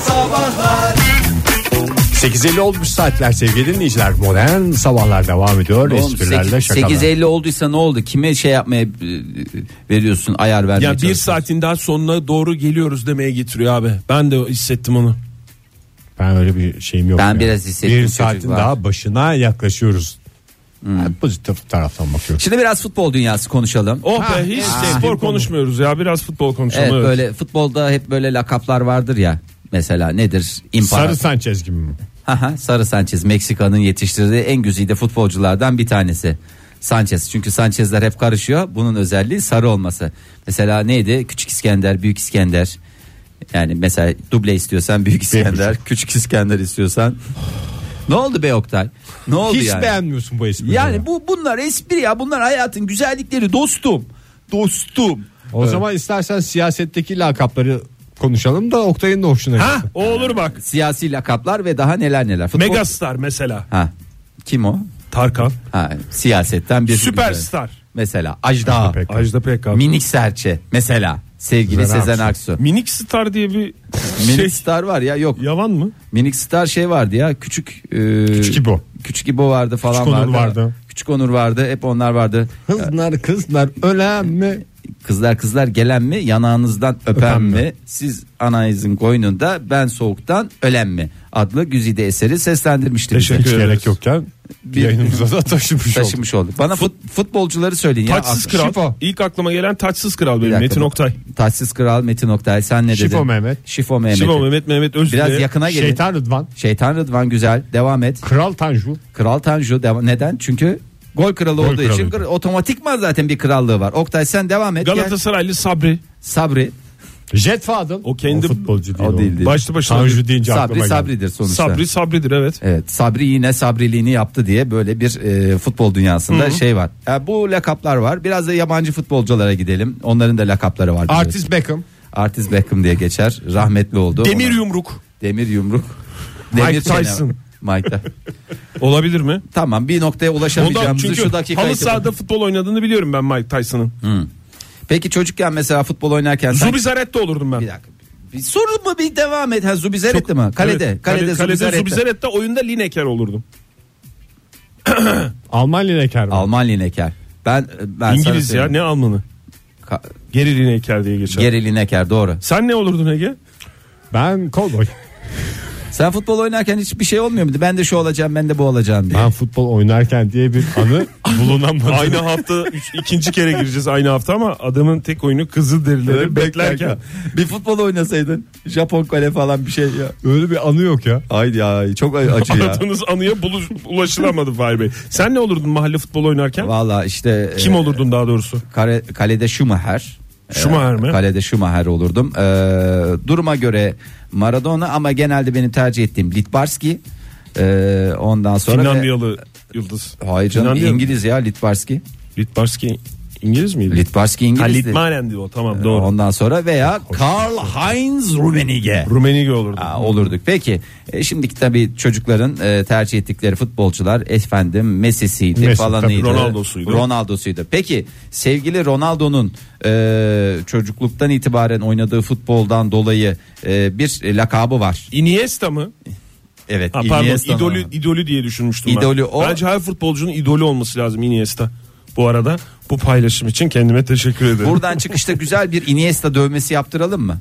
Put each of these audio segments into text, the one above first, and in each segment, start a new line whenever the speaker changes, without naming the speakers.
Sabahlar
8.50 olmuş saatler sevgili dinleyiciler. Modern sabahlar devam ediyor.
Oğlum,
Esprilerle
sekiz-
şakalar.
8.50 olduysa ne oldu? Kime şey yapmaya e, veriyorsun ayar vermeye
Ya bir
çalışıyorsun?
saatin daha sonuna doğru geliyoruz demeye getiriyor abi. Ben de hissettim onu.
Ben öyle bir şeyim yok.
Ben biraz hissettim
Bir
çocuk
saatin
var.
daha başına yaklaşıyoruz. Ben pozitif taraftan bakıyorum.
Şimdi biraz futbol dünyası konuşalım.
Oh
Ha,
be hiç
ha.
spor konuşmuyoruz ya biraz futbol konuşalım.
Evet,
evet.
böyle futbolda hep böyle lakaplar vardır ya. Mesela nedir?
Sarı
İmparator.
Sanchez gibi mi?
Sarı, Sarı Sanchez Meksika'nın yetiştirdiği en güzide futbolculardan bir tanesi. Sanchez çünkü Sanchez'ler hep karışıyor. Bunun özelliği sarı olması. Mesela neydi? Küçük İskender, Büyük İskender. Yani mesela duble istiyorsan Büyük İskender, Küçük İskender istiyorsan. ne oldu be Oktay? Ne oldu
Hiç
yani?
beğenmiyorsun bu espriyi.
Yani bu bunlar espri ya. Bunlar hayatın güzellikleri dostum. Dostum.
O zaman istersen siyasetteki lakapları konuşalım da Oktay'ın da hoşuna
Ha
gitsin.
o olur bak.
Siyasi lakaplar ve daha neler neler. Futbol...
Megastar mesela.
Ha. Kim o?
Tarkan.
Ha, siyasetten bir
Süperstar.
Mesela Ajda.
Peki.
Ajda Pekkan.
Minik Serçe mesela sevgili
Sezen
Sezen Aksu.
Minik Star diye bir
Minik
şey.
Star var ya yok.
Yalan mı?
Minik Star şey vardı ya küçük e,
Küçük İbo.
Küçük İbo vardı falan
Küçük Onur
vardı.
vardı.
Küçük Onur vardı. Hep onlar vardı.
Kızlar kızlar ölen mi?
Kızlar kızlar gelen mi? Yanağınızdan öpen,
Öpen
mi?
mi?
Siz anayızın koynunda ben soğuktan ölen mi? adlı güzide eseri seslendirmiştik. bize.
Hiç gerek yokken
Bir-
yayınımıza da taşımış olduk.
Taşımış olduk. Bana fut- futbolcuları söyleyin ya.
Taçsız Kral.
Şifa.
İlk aklıma gelen Taçsız Kral
Bir
benim
dakika,
Metin
bak.
Oktay.
Ah, Taçsız Kral Metin Oktay sen ne dedin?
Şifo Mehmet.
Şifo Mehmet.
Şiva Mehmet Mehmet Özlü.
Biraz yakına gelin. Şeytan.
Şeytan Rıdvan.
Rıdvan güzel. Devam et.
Kral Tanju.
Kral Tanju devam. neden? Çünkü gol kralı olduğu için
kralıydı.
kır- otomatikman zaten bir krallığı var. Oktay sen devam et. Gel.
Galatasaraylı Sabri.
Sabri.
Jet Fadıl.
O kendi-
futbolcu değil.
O değil, değil.
Başlı başına
Tanju deyince aklıma
Sabri
geldi.
Sabri'dir sonuçta.
Sabri Sabri'dir evet.
Evet, Sabri yine sabriliğini yaptı diye böyle bir e, futbol dünyasında şey var. E, bu lakaplar var. Biraz da yabancı futbolculara gidelim. Onların da lakapları var. biliyorsun.
Artist Beckham.
Artist Beckham diye geçer. Rahmetli oldu.
Demir
Ona-
Yumruk.
Demir yumruk.
Mike
çene-
Tyson.
Mike Ty-
Olabilir mi?
Tamam bir noktaya
Ondan
ulaşamayacağımızı
çünkü
şu dakika
halı
itibariyle-
sahada futbol oynadığını biliyorum ben Mike Tyson'ın.
Peki çocukken mesela futbol oynarken sen...
Zubi Zaret de olurdum ben.
Bir dakika. Bir soru mu bir devam et. Ha, Zubizaret mi? Kalede. Kalede,
Evet, kalede, kalede
Zubizaret.
Zubizaret'te oyunda Lineker olurdum.
Alman Lineker mi?
Alman Lineker. Ben, ben sana
İngiliz ya
söyleyeyim.
ne Almanı.
Ka-
Geri Lineker diye geçer.
Geri Lineker doğru.
Sen ne olurdun Ege?
Ben kovboy.
Sen futbol oynarken hiçbir şey olmuyor muydu? Ben de şu olacağım ben de bu olacağım diye.
Ben futbol oynarken diye bir anı bulunamadı.
Aynı hafta üç- ikinci kere gireceğiz aynı hafta ama adamın tek oyunu kızıl derileri beklerken.
bir futbol oynasaydın Japon kale falan bir şey ya.
Öyle bir anı yok ya.
Haydi ya çok acı ya.
Aradığınız anıya buluş, ulaşılamadı Fahir Bey. Sen ne olurdun mahalle futbolu oynarken?
Valla işte
Kim
e,
olurdun daha doğrusu?
Kale, kalede Schumacher. Ee,
Schumacher mi?
Kalede Schumacher olurdum. Ee, duruma göre Maradona ama genelde benim tercih ettiğim Litbarski. Ee, ondan sonra
Finlandiyalı yıldız.
Ve, hayır canım
Finlandiya mı?
İngiliz ya Litbarski.
Litbarski İngiliz miydi?
Litbarski
Ha,
İngilizdi.
Litmanendi o tamam doğru.
Ondan sonra veya Karl Heinz Rummenigge.
Rummenigge olurdu.
Aa, olurduk. Peki e, şimdiki tabii çocukların e, tercih ettikleri futbolcular efendim Messi'siydi
Messi,
falanıydı.
tabii, Ronaldo'suydu.
Ronaldo'suydu. Peki sevgili Ronaldo'nun e, çocukluktan itibaren oynadığı futboldan dolayı e, bir e, lakabı var.
Iniesta mı?
Evet.
Ha, pardon
Iniesta'nın.
idolü, idolü diye düşünmüştüm
İdolü
ben.
o.
Bence her futbolcunun idolü olması lazım Iniesta. Bu arada bu paylaşım için kendime teşekkür ederim.
Buradan çıkışta güzel bir Iniesta dövmesi yaptıralım mı?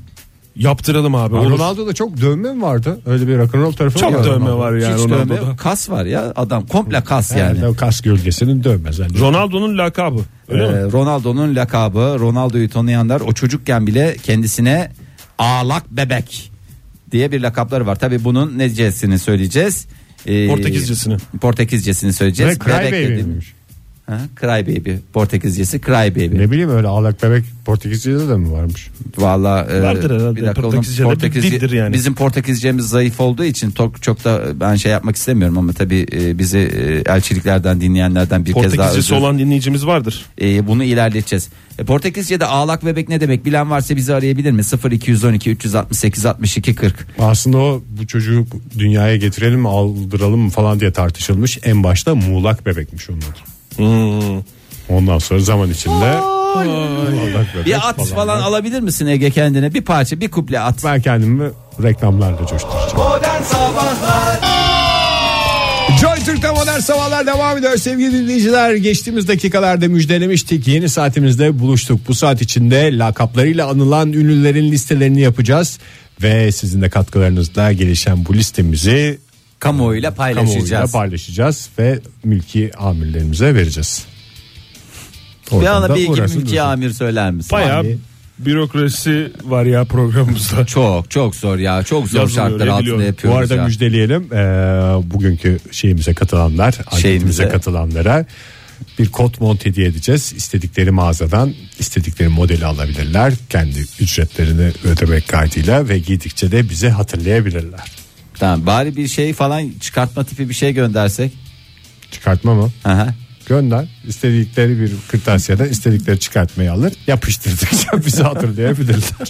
Yaptıralım abi. olur.
Ronaldo'da çok dövme mi vardı? Öyle bir rock'n'roll tarafı
Çok
mı vardı
dövme
Ronaldo'da?
var yani
Hiç dövme
Ronaldo'da.
yok. Kas var ya adam komple kas yani.
Yani o kas gölgesinin dövme zannediyorum.
Ronaldo'nun lakabı. Öyle mi?
Ee, Ronaldo'nun lakabı Ronaldo'yu tanıyanlar o çocukken bile kendisine ağlak bebek diye bir lakapları var. Tabi bunun necesini söyleyeceğiz. Ee,
Portekizcesini.
Portekizcesini
Ve
söyleyeceğiz.
Cry
Bebek dediğim-
Baby'ymiş.
Ha, Cry Baby. Portekizcesi Cry Baby.
Ne bileyim öyle ağlak bebek Portekizce'de de mi varmış?
Valla e,
Vardır herhalde.
bir dakika
Portekizce'de
oğlum,
bir dildir yani.
Bizim Portekizcemiz zayıf olduğu için çok, çok da ben şey yapmak istemiyorum ama tabi bizi e, elçiliklerden dinleyenlerden bir kez daha
Portekizcesi
özür-
olan dinleyicimiz vardır.
E, bunu ilerleteceğiz. E, Portekizce'de ağlak bebek ne demek bilen varsa bizi arayabilir mi? 0212 368 62 40.
Aslında o bu çocuğu dünyaya getirelim mi aldıralım mı falan diye tartışılmış. En başta muğlak bebekmiş onun adı.
Hmm.
Ondan sonra zaman içinde muğlak bebek
Bir at falan
var.
alabilir misin Ege kendine? Bir parça bir kuple at.
Ben kendimi reklamlarla coşturacağım.
Modern Sabahlar
Joy Türk'te modern sabahlar devam ediyor sevgili dinleyiciler. Geçtiğimiz dakikalarda müjdelemiştik. Yeni saatimizde buluştuk. Bu saat içinde lakaplarıyla anılan ünlülerin listelerini yapacağız. Ve sizin de katkılarınızla gelişen bu listemizi
Kamuoyuyla
kamuoyuyla
paylaşacağız.
paylaşacağız ve mülki amirlerimize vereceğiz.
bir
Oradan da
ana bir iki
uğraşın
mülki
dursun.
amir söyler misin?
Bayağı
Hani-
bürokrasi var ya programımızda.
Çok çok zor ya. Çok zor
Yazılıyor,
şartlar altında
ediliyor.
Bu
yapıyoruz
arada
ya.
müjdeleyelim Ee, bugünkü şeyimize katılanlar, anketimize
Şeyimize.
katılanlara bir kot mont hediye edeceğiz. İstedikleri mağazadan istedikleri modeli alabilirler. Kendi ücretlerini ödemek kaydıyla ve giydikçe de bize hatırlayabilirler.
Tamam, bari bir şey falan çıkartma tipi bir şey göndersek.
Çıkartma mı?
Aha.
Gönder. İstedikleri bir kırtasiyeden istedikleri çıkartmayı alır. Yapıştırdıkça bizi hatırlayabilirler.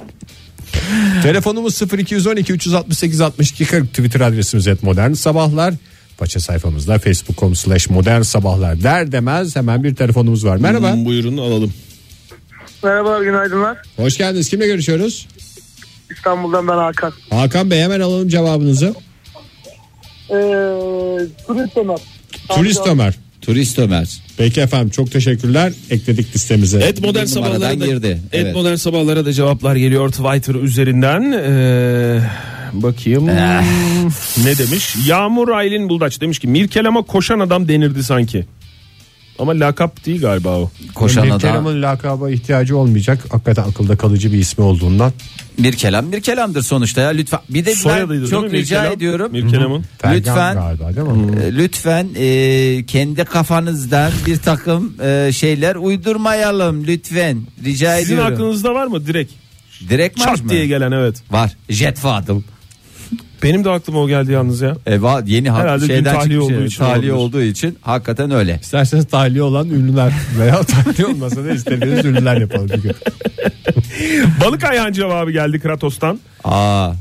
Telefonumuz 0212 368 62 40 Twitter adresimiz et modern sabahlar. Paça sayfamızda facebook.com slash modern sabahlar der demez hemen bir telefonumuz var. Merhaba.
Hmm, Buyurun alalım.
Merhabalar günaydınlar.
Hoş geldiniz. Kimle görüşüyoruz?
İstanbul'dan ben Hakan.
Hakan Bey hemen alalım cevabınızı.
Ee, turist Ömer.
Turist Ömer.
Turist Ömer.
Peki efendim çok teşekkürler. Ekledik listemize.
Et modern
Bir numaradan
sabahlara da,
girdi.
Et
Evet.
modern sabahlara da cevaplar geliyor Twitter üzerinden. Ee, bakayım.
Eh.
ne demiş? Yağmur Aylin Buldaç demiş ki Mirkelam'a koşan adam denirdi sanki. Ama lakap değil galiba o.
Koşan
Bir
adam.
kelamın lakaba ihtiyacı olmayacak. Hakikaten akılda kalıcı bir ismi olduğundan
Bir kelam bir kelamdır sonuçta ya lütfen. Bir de ben
Soyadıydı
çok
değil mi?
rica
Mirkelam.
ediyorum.
Mirkelam'ın.
Fergan
Lütfen.
galiba değil mi?
E, Lütfen e, kendi kafanızdan bir takım e, şeyler uydurmayalım lütfen. Rica
Sizin
ediyorum.
aklınızda var mı direkt?
Direkt marş
Çat
mı?
diye gelen evet.
Var. Jet Fadıl.
Benim de aklıma o geldi yalnız ya.
E, va- yeni hak-
Herhalde dün
şeyden
tahliye
çıkmış. e,
olduğu için
Tahliye
olabilir.
olduğu için hakikaten öyle.
İsterseniz tahliye olan ünlüler veya tahliye olmasa da istediğiniz ünlüler yapalım. bir gün.
Balık Ayhan cevabı geldi Kratos'tan.
Aa,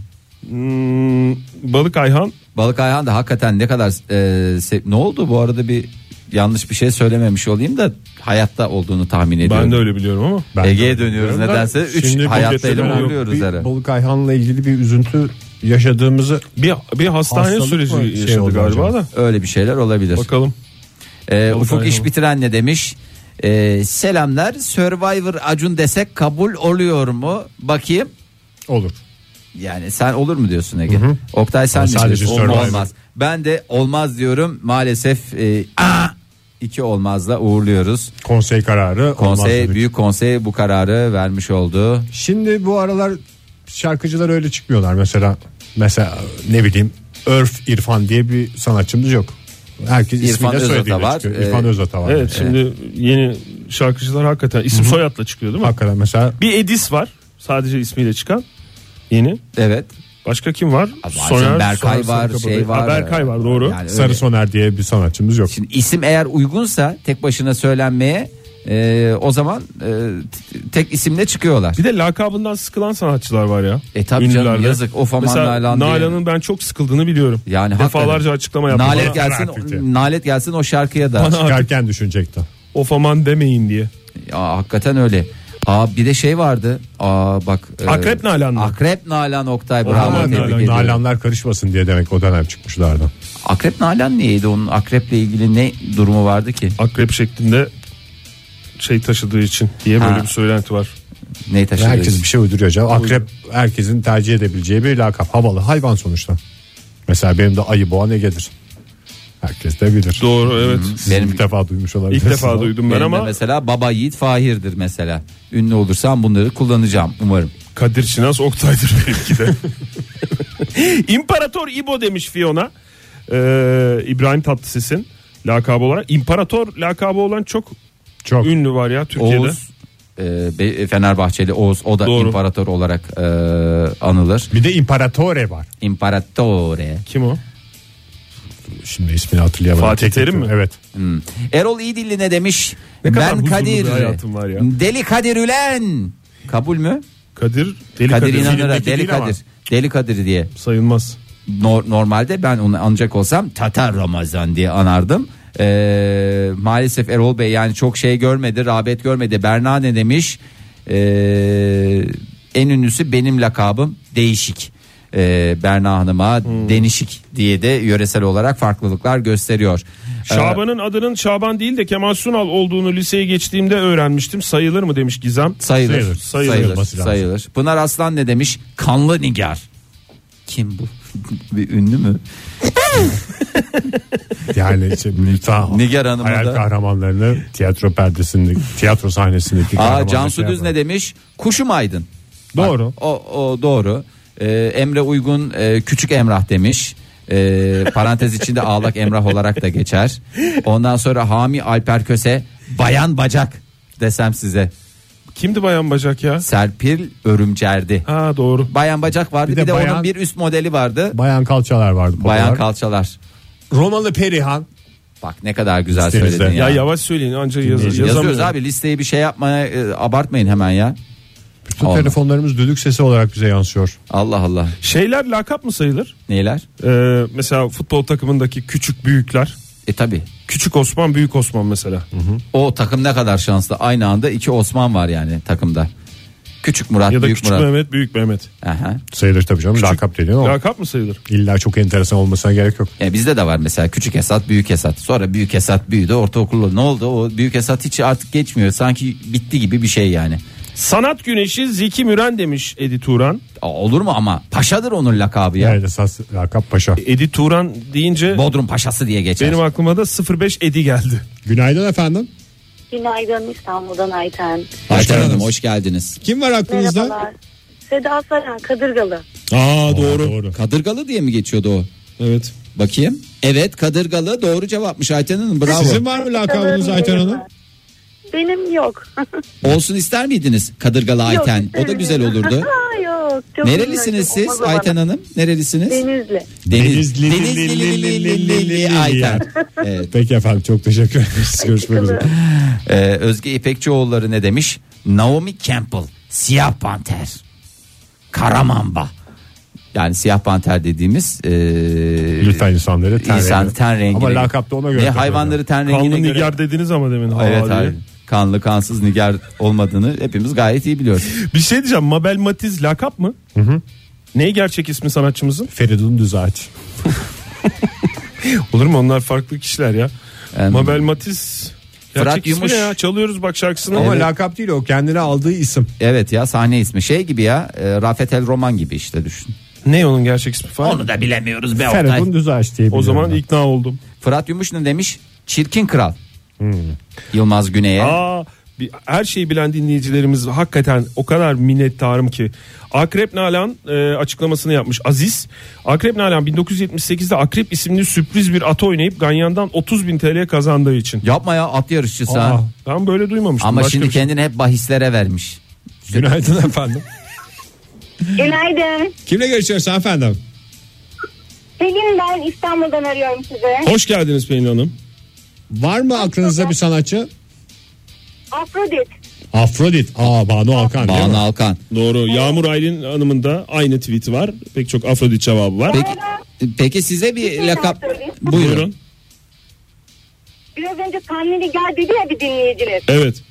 Hmm, Balık Ayhan
Balık Ayhan da hakikaten ne kadar e, se- ne oldu bu arada bir yanlış bir şey söylememiş olayım da hayatta olduğunu tahmin ediyorum.
ben de öyle biliyorum ama.
Ben
Ege'ye
de-
dönüyoruz
Ben-
nedense. Üç
Şimdi bu
hayatta
getirme
elim
yok.
oluyoruz
Bir
herhalde.
Balık Ayhan'la ilgili bir üzüntü yaşadığımızı
Bir, bir hastane
Hastalık
süreci
mı şey
yaşadı
oldu
galiba
acaba?
da.
Öyle bir şey şeyler olabilir.
Bakalım.
Ee, Ufuk
Ayhan.
iş bitiren ne demiş? Ee, selamlar Survivor Acun desek kabul oluyor mu? Bakayım.
olur.
Yani sen olur mu diyorsun Ege? Oktay sen
Ama
ne
sadece
diyorsun? Olma,
Survivor.
Olmaz. Ben de olmaz diyorum. Maalesef e, aa, iki olmazla uğurluyoruz.
Konsey kararı olmaz
Konsey
dedik.
büyük konsey bu kararı vermiş oldu.
Şimdi bu aralar şarkıcılar öyle çıkmıyorlar mesela. Mesela ne bileyim Örf İrfan diye bir sanatçımız yok. Herkes
İrfan
ismiyle
Özata
soyadıyla
var.
çıkıyor.
Ee,
İrfan Özata var.
Evet şimdi yeni şarkıcılar hakikaten isim soyadla çıkıyor değil mi?
Hakikaten mesela
Bir Edis var. Sadece ismiyle çıkan. Yeni.
Evet.
Başka kim var?
Soner, Berkay
Soner
var,
Sarıkabadayı.
şey var.
Ha, Berkay var doğru.
Yani
Sarı
öyle.
Soner diye bir sanatçımız yok.
Şimdi isim eğer uygunsa tek başına söylenmeye e, o zaman e, t- tek isimle çıkıyorlar.
Bir de lakabından sıkılan sanatçılar var ya.
E tabii canım,
Ünlülerde.
yazık. Of aman
Mesela
Nalan diye.
Nalan'ın ben çok sıkıldığını biliyorum.
Yani
Defalarca
hakikaten.
açıklama yaptı.
Nalet
Bana-
gelsin,
artık ya.
nalet gelsin o şarkıya da.
Bana
Çıkarken düşünecekti.
Of aman demeyin diye.
Ya, hakikaten öyle. Aa bir de şey vardı. Aa bak. e,
Akrep Nalan mı?
Akrep Nalan Oktay bravo
Ama
Nalan,
tebrik ediyorum.
Nalanlar karışmasın diye demek o dönem çıkmışlardı.
Akrep Nalan neydi onun akreple ilgili ne durumu vardı ki?
Akrep şeklinde şey taşıdığı için diye böyle
Ha.
bir söylenti var.
Neyi taşıdı?
Herkes bir şey uyduruyor canım. Akrep herkesin tercih edebileceği bir lakap. Havalı hayvan sonuçta. Mesela benim de ayı boğa ne gelir? Herkes de bilir.
Doğru evet.
Benim
Benim-
ilk defa duymuş
İlk
olabilirsiniz.
defa duydum ben
Benim de
ama
mesela Baba Yiğit Fahir'dir mesela. Ünlü olursam bunları kullanacağım umarım.
Kadir Çinas Oktay'dır belki de. İmparator İbo demiş Fiona. Ee, İbrahim Tatlıses'in lakabı olarak. İmparator lakabı olan çok
Çok.
ünlü var ya Türkiye'de.
Oğuz e, Be- Fenerbahçeli Oğuz o da
Doğru.
imparator olarak e, anılır.
Bir de İmparatore var.
İmparatore.
Kim o?
Şimdi ismini hatırlayamadım.
Fatih
Teknik
Terim mi?
Evet.
Hmm. Erol İyidilli ne demiş?
Ne kadar
ben
huzurlu
Kadir.
bir hayatım var ya.
Deli Kadir Ülen. Kabul mü?
Kadir Deli
Kadir,
Kadir.
inanır.
Filmdeki
Deli
değil ama
Kadir. Deli Kadir diye.
Sayılmaz.
Nor- normalde ben onu ancak olsam Tatar Ramazan diye anardım. Ee, maalesef Erol Bey yani çok şey görmedi, rağbet görmedi. Berna ne demiş? Ee, en ünlüsü benim lakabım değişik. e, Berna Hanım'a
Hmm.
denişik diye de yöresel olarak farklılıklar gösteriyor. Ee,
Şaban'ın adının Şaban değil de Kemal Sunal olduğunu liseye geçtiğimde öğrenmiştim. Sayılır mı demiş Gizem.
Sayılır.
Sayılır, sayılır
Sayılır.
olması lazım.
sayılır. Pınar Aslan ne demiş? Kanlı Nigar. Kim bu? bir ünlü mü?
Yani işte Nilüfer-
Nigar Hanım'ı
hayal
da-
kahramanlarını tiyatro perdesindeki, tiyatro sahnesindeki
Aa,
kahramanlar
Cansu
şey
Düz ne
yapar.
demiş? Kuşum Aydın.
Doğru.
O, o doğru. Ee, Emre Uygun e, küçük Emrah demiş. Ee, parantez içinde ağlak Emrah olarak da geçer. Ondan sonra Hami Alper Köse bayan bacak desem size.
Kimdi Bayan Bacak ya?
Serpil Örümcerdi.
Ha doğru.
Bayan bacak vardı bir de,
de bayan-
onun bir üst modeli vardı.
Bayan kalçalar vardı. popüler.
Bayan kalçalar.
Romalı Perihan.
Bak ne kadar güzel
İsteriz
söyledin
de.
ya.
Ya yavaş söyleyin ancak yaz,
Yazıyoruz
yazamıyorum.
abi listeyi bir şey yapmaya e, abartmayın hemen ya.
Bütün
Allah.
telefonlarımız düdük sesi olarak bize yansıyor.
Allah Allah.
Şeyler lakap mı sayılır?
Neyler?
Ee, mesela futbol takımındaki küçük büyükler.
E tabi.
Küçük Osman, Büyük Osman mesela.
O takım ne kadar şanslı. Aynı anda iki Osman var yani takımda. Küçük Murat,
Ya da
Büyük
Küçük
Murat.
Mehmet, Büyük Mehmet.
Aha.
Sayılır tabii canım. Lakap deniyor ama
Lakap mı sayılır?
illa çok enteresan olmasına gerek yok.
E bizde de var mesela küçük Esat, büyük Esat. Sonra büyük Esat büyüdü, ortaokulda ne oldu? O büyük Esat hiç artık geçmiyor. Sanki bitti gibi bir şey yani.
Sanat güneşi Zeki Müren demiş Edi Turan.
Aa, olur mu ama? Paşadır onun lakabı ya.
Yani esas lakap paşa.
Edi Turan deyince
Bodrum Paşası diye geçer.
benim aklıma da 05 Edi geldi.
Günaydın efendim.
Günaydın İstanbul'dan Ayten.
Ayten
Hoş
Hanım
geldiniz.
hoş geldiniz.
Kim var aklınızda?
Merhabalar. Seda Saran Kadırgalı.
Aa doğru. doğru.
Kadırgalı diye mi geçiyordu o?
Evet.
Bakayım. Evet Kadırgalı doğru cevapmış Ayten Hanım bravo.
Sizin var mı lakabınız
Kadırgalı
Ayten
benim
Hanım?
var. Benim yok.
E, Olsun ister miydiniz Kadırgalı Ayten?
Yok,
o da güzel
istemiyorum.
olurdu.
Aa, yok. Çok
Nerelisiniz
bilmiyorum.
siz
Olmaz o bana.
Ayten Hanım? Nerelisiniz?
Denizli.
Denizli-
Denizli-
Denizli-
Denizli-
Denizli-
Ayten. Evet.
Peki efendim çok teşekkür ederiz. Görüşmek üzere.
Ee, Özge İpekçioğulları ne demiş? Naomi Campbell, Siyah Panter, Karamamba. Yani Siyah Panter dediğimiz e,
Lütfen insanları ten
insan
rengi.
ten rengine.
Ama lakapta ona göre.
Ve hayvanları ten rengine
Kanlı
göre.
Nigar dediniz ama demin. ha
Evet
diye.
hayır. Kanlı kansız nigar olmadığını hepimiz gayet iyi biliyoruz.
Bir şey diyeceğim Mabel Matiz lakap mı? Hı Ne gerçek ismi sanatçımızın?
Feridun Düzağaç.
Olur mu onlar farklı kişiler ya.
Em,
Mabel Matiz.
Fırat
Gerçek ismi
Yumuş.
ne ya? Çalıyoruz bak şarkısını.
Ama
Ama la-
lakap değil o kendine aldığı isim.
Evet ya sahne ismi şey gibi ya e, Rafet El Roman gibi işte düşün.
Ne onun gerçek ismi falan?
Onu da bilemiyoruz be Oktay.
Feridun Düzağaç diye
O
biliyorum
zaman
ben.
ikna oldum.
Fırat Yumuş ne demiş? Çirkin Kral. Yılmaz Güney'e.
Hmm. Aa, bir- her şeyi bilen dinleyicilerimiz hakikaten o kadar minnettarım ki. Akrep Nalan e, açıklamasını yapmış. Aziz, Akrep Nalan 1978'de Akrep isimli sürpriz bir ata oynayıp Ganyan'dan 30 bin TL kazandığı için.
Yapma ya at yarışçısı
Aa,
ha.
ben böyle duymamıştım.
Ama
Başka
şimdi
bir şey.
kendini hep bahislere vermiş.
Günaydın efendim.
Günaydın.
Kimle görüşüyoruz efendim?
Pelin ben İstanbul'dan arıyorum size.
Hoş geldiniz Pelin Hanım.
Var mı aklınızda bir sanatçı?
Afrodit.
Afrodit. Aa Banu Alkan değil mi?
Banu Alkan.
Doğru. Yağmur Aylin Hanım'ın da aynı tweet'i var. Pek çok Afrodit cevabı var.
Peki, peki size bir
şey
lakap
daha söyleyeyim.
buyurun.
Biraz önce Kanlı Nigar dedi ya bir dinleyiciniz.
Evet.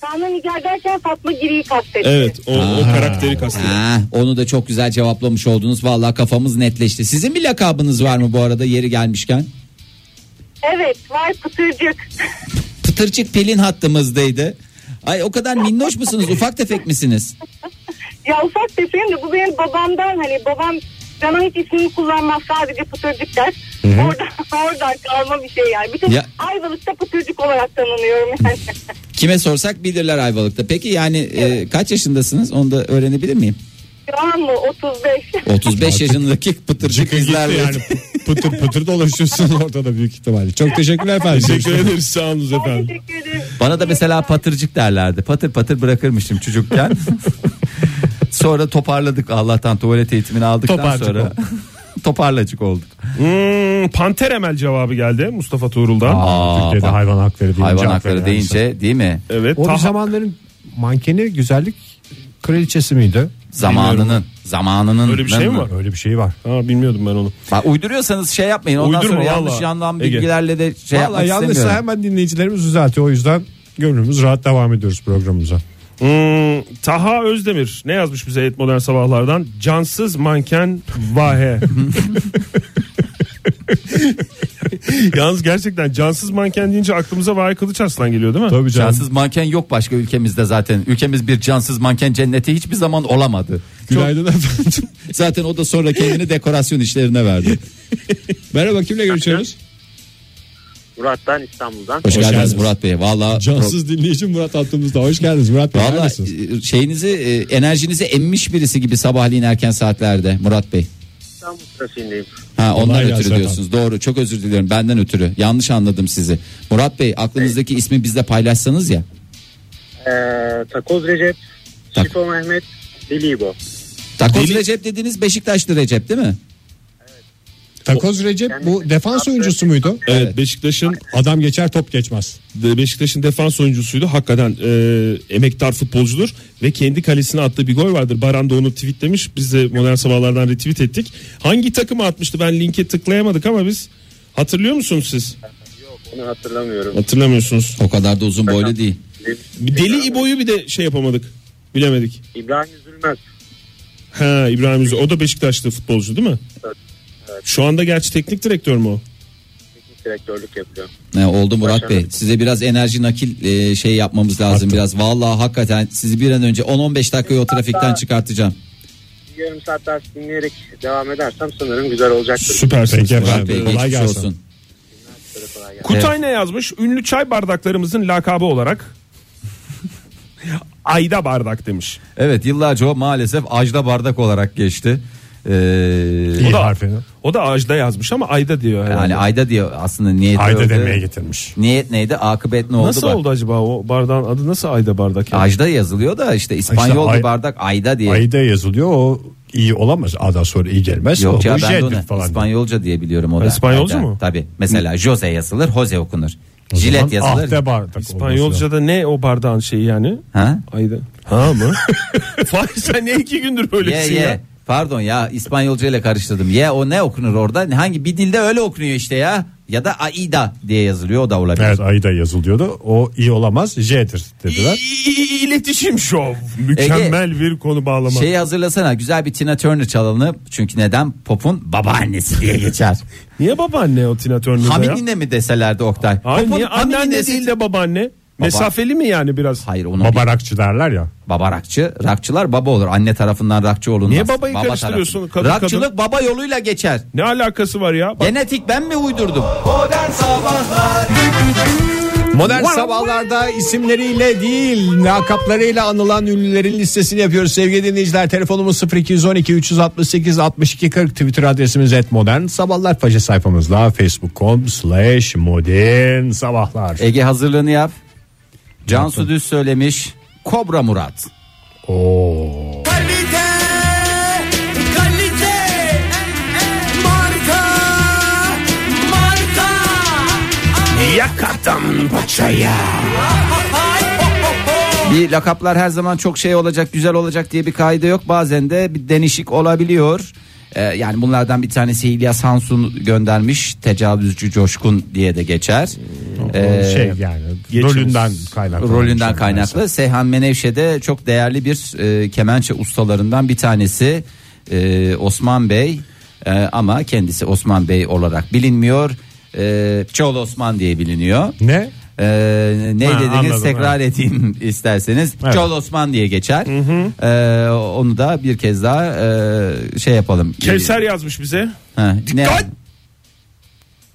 Kanlı Nigar derken Fatma Giri'yi kastetti.
O, karakteri kastediyor.
Ha, onu da çok güzel cevaplamış oldunuz. Vallahi kafamız netleşti. Sizin bir lakabınız var mı bu arada yeri gelmişken?
Evet var pıtırcık.
Pıtırcık Pelin hattımızdaydı. Ay o kadar minnoş musunuz? Ufak tefek misiniz?
Ya ufak tefeyim de bu benim babamdan hani babam bana hiç ismini kullanmaz sadece pıtırcık der. Oradan, oradan kalma bir şey yani. Bütün
Ya-
Ayvalık'ta pıtırcık olarak tanınıyorum yani.
Kime sorsak bilirler Ayvalık'ta. Peki yani e, kaç yaşındasınız? Onu da öğrenebilir miyim?
Şu an mı 35?
35 yaşındaki pıtırcık
Çıkın gitti
izler.
yani pıtır pıtır dolaşıyorsun ortada büyük ihtimalle. Çok teşekkürler efendim.
Teşekkür ederiz. Sağ olun
Ben
efendim.
teşekkür ederim.
Bana da mesela patırcık derlerdi. Patır patır bırakırmışım çocukken. sonra toparladık Allah'tan tuvalet eğitimini aldıktan
Toparcık
sonra. toparlacık olduk.
Hmm, Panter Emel cevabı geldi Mustafa Tuğrul'dan.
Aa,
Türkiye'de
bak.
hayvan hakları deyince.
Hayvan
hakları
hakları deyince değil mi?
Evet.
O bir
E, Taha-
zamanların mankeni güzellik kraliçesi miydi?
Zamanının, zamanının.
Öyle bir şey mi var?
Öyle bir şey var.
Ha, bilmiyordum ben onu.
Bak uyduruyorsanız şey yapmayın. Ondan
Uydurma
sonra yanlış
vallahi.
yandan
Ege.
bilgilerle de şey
Vallahi
yapmak
yanlışsa
istemiyorum.
hemen dinleyicilerimiz düzeltiyor. O yüzden gönlümüz rahat devam ediyoruz programımıza.
Hmm, Taha Özdemir ne yazmış bize et modern sabahlardan? Cansız manken vahe. Yalnız gerçekten cansız manken deyince aklımıza Vahe Kılıçarslan geliyor değil mi?
Tabii canım.
Cansız manken yok başka ülkemizde zaten. Ülkemiz bir cansız manken cenneti hiçbir zaman olamadı.
Günaydın efendim.
Zaten o da sonra kendini dekorasyon işlerine verdi.
Merhaba kimle görüşüyoruz?
Murat ben İstanbul'dan.
Hoş, geldiniz,
geldiniz.
Murat Bey. Vallahi
Cansız dinleyici Murat hattımızda. Hoş geldiniz Murat Bey.
Valla
neredesiniz?
şeyinizi e, enerjinizi emmiş birisi gibi sabahleyin erken saatlerde Murat Bey.
İstanbul trafiğindeyim.
Ha ondan
Kolay
ötürü
gelsin
diyorsunuz. Doğru. Çok özür diliyorum. Benden ötürü. Yanlış anladım sizi. Murat Bey aklınızdaki ismi bizle paylaşsanız ya.
Ee, Takoz Recep,
Tak.
Şifo Mehmet, Deli İbo.
Takoz
Deli-
Recep dediğiniz Beşiktaşlı Recep değil mi?
Takoz Recep bu defans oyuncusu muydu?
Evet Beşiktaş'ın
Adam geçer top geçmez.
De- Beşiktaş'ın defans oyuncusuydu. Hakikaten e, emektar futbolcudur ve kendi kalesine attığı bir gol vardır. Baran da onu tweetlemiş. Biz de modern sabahlardan retweet ettik. Hangi takıma atmıştı? Ben linke tıklayamadık ama biz hatırlıyor musunuz siz?
Onu hatırlamıyorum.
Hatırlamıyorsunuz.
O kadar da uzun boylu değil.
Bir Deli İbo'yu bir de şey yapamadık. Bilemedik.
İbrahim Üzülmez.
Ha İbrahim Yüzü. O da Beşiktaşlı futbolcu değil mi?
Evet,
Şu anda gerçi teknik direktör mü o?
Teknik direktörlük yapıyor.
Ne oldu Murat Bey.
Başarılı. Siz
Size biraz enerji nakil e, şey yapmamız lazım biraz. Vallahi hakikaten sizi bir an önce 10-15 dakikaya o trafikten çıkartacağım.
bir yarım saat daha dinleyerek devam edersem sanırım güzel olacaktır.
Süpersiniz.
Peki efendim.
Murat Bey
kolay
geçmiş
gelsin.
olsun.
Süper, kolay gelsin.
Kutay ne yazmış? Ünlü çay bardaklarımızın lakabı olarak Ayda bardak demiş.
Evet yıllarca o maalesef Ajda Bardak olarak geçti. Ee,
İyi
O da-
harfini.
O da Ajda yazmış ama Ayda diyor herhalde.
yani Ayda diye aslında niyet
Ayda demeye getirmiş.
Niyet neydi? Akıbet ne oldu?
Nasıl
bak.
oldu acaba o bardağın adı nasıl Ayda bardak? ya?
Ajda yazılıyor da işte İspanyol
İşte ay-
bir bardak Ayda diye.
Ayda yazılıyor o iyi olamaz. A'dan sonra iyi gelmez.
Yok
o
ya
bu
ben de
jettir
onu
falan.
İspanyolca diye biliyorum o da.
İspanyolca
Ayda.
mu?
Tabii. Mesela Jose yazılır, Jose okunur. Jilet yazılır.
Ah de bardak olması
İspanyolca'da ne o bardağın şeyi yani?
Ha?
Ayda. Ha mı? Fahri sen ne iki gündür
Ye
böylesin ya?
ye. Pardon ya İspanyolca ile karıştırdım. Ye o ne okunur orada? Hangi bir dilde öyle okunuyor işte ya. Ya da Aida diye yazılıyor o da olabilir.
Evet Ayda yazılıyordu. O iyi olamaz. J'dir dediler.
İ- İ- İletişim şov. Mükemmel bir konu bağlama.
Şey hazırlasana güzel bir Tina Turner çalanı çünkü neden popun babaannesi diye geçer.
Niye babaanne o Tina Turner'da ya?
Haminine mi deselerdi Oktay?
Hayır
Popun
niye anneanne
haminesi-
değil de babaanne? Mesafeli mi yani biraz?
Hayır onun bir-
Babarakçı derler ya.
Baba rakçı, rakçılar baba olur. Anne tarafından rakçı olunmaz.
Niye babayı karıştırıyorsun?
tarafı.
Kadın-
Rakçılık baba yoluyla geçer.
Ne alakası var ya? Bak,
Genetik ben mi uydurdum?
Modern sabahlarda isimleriyle değil lakaplarıyla anılan ünlülerin listesini yapıyoruz. Sevgili dinleyiciler telefonumuz 0212 368 62 40 Twitter adresimiz et modern sabahlar faça sayfamızla facebook.com slash modern sabahlar.
Ege hazırlığını yap. Cansu Düz söylemiş. Kobra Murat.
Oo.
Bir lakaplar her zaman çok şey olacak, güzel olacak diye bir kaide yok. Bazen de bir denişik olabiliyor. Ee, yani bunlardan bir tanesi İlyas Hansun göndermiş. Tecavüzcü Coşkun diye de geçer. Ee,
şey yani rolünden kaynaklı.
rolünden kaynaklı. Seyhan Menevşe de çok değerli bir e, kemençe ustalarından bir tanesi E, Osman Bey E, ama kendisi Osman Bey olarak bilinmiyor. E, Çoğul Osman diye biliniyor.
Ne?
E, ne
Ha,
dediniz
anladım,
tekrar edeyim isterseniz.
Evet.
Çoğul Osman diye geçer. E, onu da bir kez daha e, şey yapalım. Ee,
Kevser yazmış bize.
Ha, ne-
Dikkat!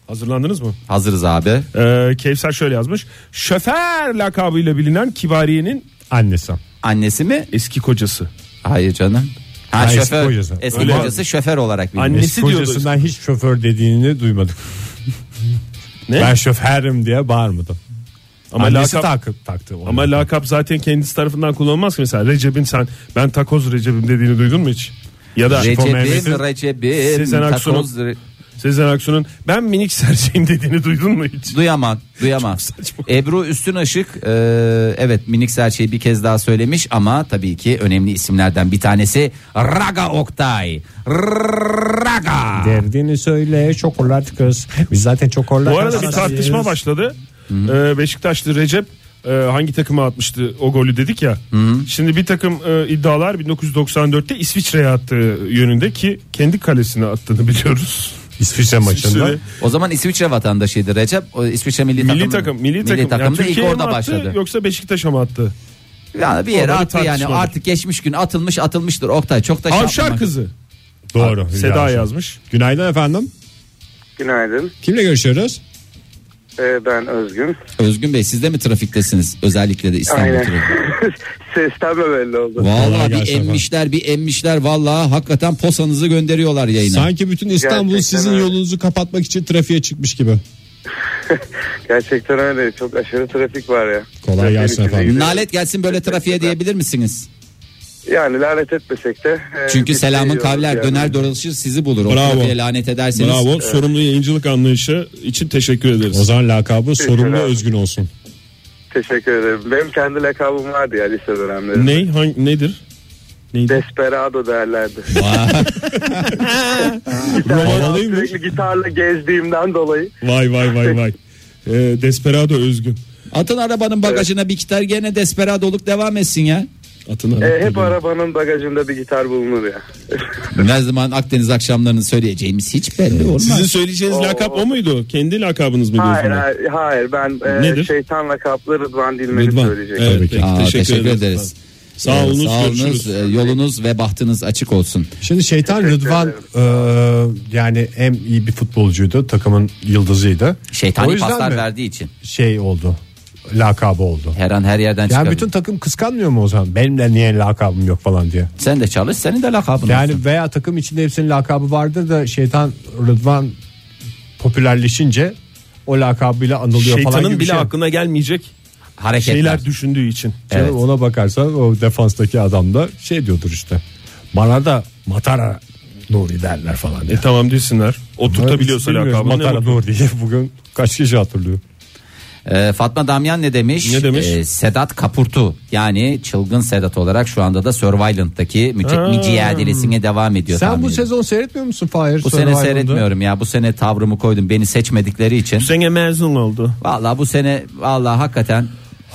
Hazırlandınız mı?
Hazırız abi.
Ee, Kevser şöyle yazmış. Şoför lakabıyla bilinen Kibariye'nin
Annesi.
Annesi mi?
eski kocası.
Hayır canım. Ha,
Ha, eski
şoför.
kocası.
Eski
Öyle
kocası şoför olarak biliniyor.
Annesi diyordu
Kocasından hiç şoför dediğini duymadık.
Ne?
Ben şoförüm diye bağırmadım.
Ama
Annesi
lakap,
takı- taktı. onu.
ama lakap zaten kendisi tarafından kullanılmaz ki mesela Recep'in sen ben takoz Recep'im dediğini duydun mu hiç? Ya da
Recep'im,
Mehmet'in-
Recep'im,
Sezen Aksu'nun-
takoz, re-
Sezen Aksu'nun ben minik serçeyim dediğini duydun mu hiç?
duyamam, duyamam. Ebru Üstün Işık, e, evet minik serçeyi bir kez daha söylemiş ama tabii ki önemli isimlerden bir tanesi Raga Oktay. Raga.
Derdini söyle çokolat kız. Biz zaten çokolat
Bu arada bir tartışma başladı. Ee, Beşiktaşlı Recep e, hangi takıma atmıştı o golü dedik ya. Şimdi bir takım e, iddialar 1994'te İsviçre'ye attığı yönünde ki kendi kalesine attığını biliyoruz.
İsviçre maçında.
İsviçre
O zaman İsviçre vatandaşıydı Recep. O İsviçre milli,
milli
takımı-
takım, milli takım.
takımda
yani
ilk
Türkiye'ye
orada
mi attı,
başladı.
Yoksa Beşiktaş'a mı attı?
Yani bir yere
Orada
attı yani
tartışmadık.
artık geçmiş gün atılmış atılmıştır. Oktay çok da şey
Avşar
yapmamak-
kızı.
Doğru.
Seda
Hülya.
yazmış.
Günaydın efendim.
Günaydın.
Kimle görüşüyoruz?
Ee, ben Özgün.
Özgün Bey siz de mi trafiktesiniz? Özellikle de İstanbul trafiği.
Aynen. Sesten mi belli oldu?
Kolay
Vallahi bir
gelsin
emmişler bir emmişler vallahi hakikaten posanızı gönderiyorlar yayına.
Sanki bütün İstanbul
Gerçekten
sizin
öyle.
yolunuzu kapatmak için trafiğe çıkmış gibi.
Gerçekten öyle. Çok aşırı trafik var ya.
Kolay gelsin
Trafiğin içinde
efendim.
gidiyoruz.
Nalet gelsin böyle trafiğe diyebilir misiniz?
Yani lanet etmesek de. e,
Çünkü
biz
selamın
seviyoruz
kavler
yani.
döner dolaşır sizi bulur. O
Bravo.
trafiğe lanet ederseniz.
Bravo. Sorumlu yayıncılık anlayışı için teşekkür ederiz.
O zaman lakabı sorumlu
Teşekkürler.
özgün olsun.
Teşekkür ederim. Benim kendi lakabım vardı ya lise dönemlerinde.
Ney? Hangi, nedir?
Desperado derlerdi.
Vay.
Havalıymış.
Sürekli gitarla gezdiğimden dolayı.
Vay vay vay vay. Ee, Desperado Özgün.
Atın arabanın bagajına bir gitar gene desperadoluk devam etsin ya.
Atın
E,
Arap
hep
Birliği.
arabanın bagajında bir gitar bulunur ya.
Ne zaman Akdeniz akşamlarını söyleyeceğimiz hiç belli olmaz.
Sizin söyleyeceğiniz lakap o muydu? Kendi lakabınız mı
Hayır
diyorsunuz?
hayır, hayır ben
Nedir?
e, şeytan lakaplı Rıdvan Dilmen'i
Rıdvan.
söyleyecektim.
Evet,
Tabii ki.
peki,
Aa,
teşekkür, ederiz. Sağ
Ee,
olunuz.
sağolunuz,
görüşürüz.
e, yolunuz ve bahtınız açık olsun.
Şimdi şeytan
Teşekkür
Rıdvan e, yani hem iyi bir futbolcuydu takımın yıldızıydı. O
Şeytani
yüzden
paslar
mi
verdiği için
şey oldu lakabı oldu.
her an her yerden
Yani
çıkar.
bütün takım kıskanmıyor mu o zaman? Benimle niye lakabım yok falan diye.
Sen de çalış, senin de lakabın olsun.
Yani veya takım içinde hepsinin lakabı vardır da şeytan Rıdvan popülerleşince o lakabıyla anılıyor falan gibi
Şeytanın
bir
bile
şey.
aklına gelmeyecek
Hareketler.
şeyler düşündüğü için.
Canım
Evet.
Ona bakarsan o defanstaki adam da şey diyordur işte. Bana da Matara Nuri derler falan diye.
E tamam desinler. Oturtabiliyorsa
Biz bilmiyoruz
lakabını.
Matara
ne
Nuri diye bugün kaç kişi hatırlıyor.
Ee, Fatma Damyan ne demiş?
Ne demiş?
Ee, Sedat Kapurtu yani çılgın Sedat olarak şu anda da Survivant'taki müce- mücadelesine devam ediyor.
Sen
tahmin
bu
ediyorum.
sezon seyretmiyor musun Fahir?
bu sene
Survivor'da?
seyretmiyorum ya. Bu sene tavrımı koydum. Beni seçmedikleri için.
Sene mezun oldu.
Vallahi bu sene vallahi hakikaten